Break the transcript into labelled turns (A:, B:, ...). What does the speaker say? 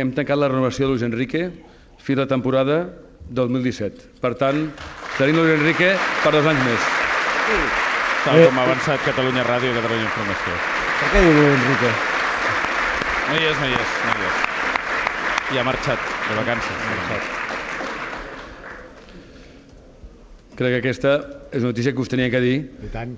A: hem tancat la renovació de Luis Enrique fins a la temporada 2017. Per tant, tenim Luis Enrique per dos anys més.
B: Tal
C: Eh,
B: com ha avançat Catalunya Ràdio i Catalunya Informació.
C: Per què diu Enrique?
B: No hi és, no hi és, no hi és. I ha marxat de vacances. Ha marxat.
A: Crec que aquesta és una notícia que us tenia que dir
D: I tant.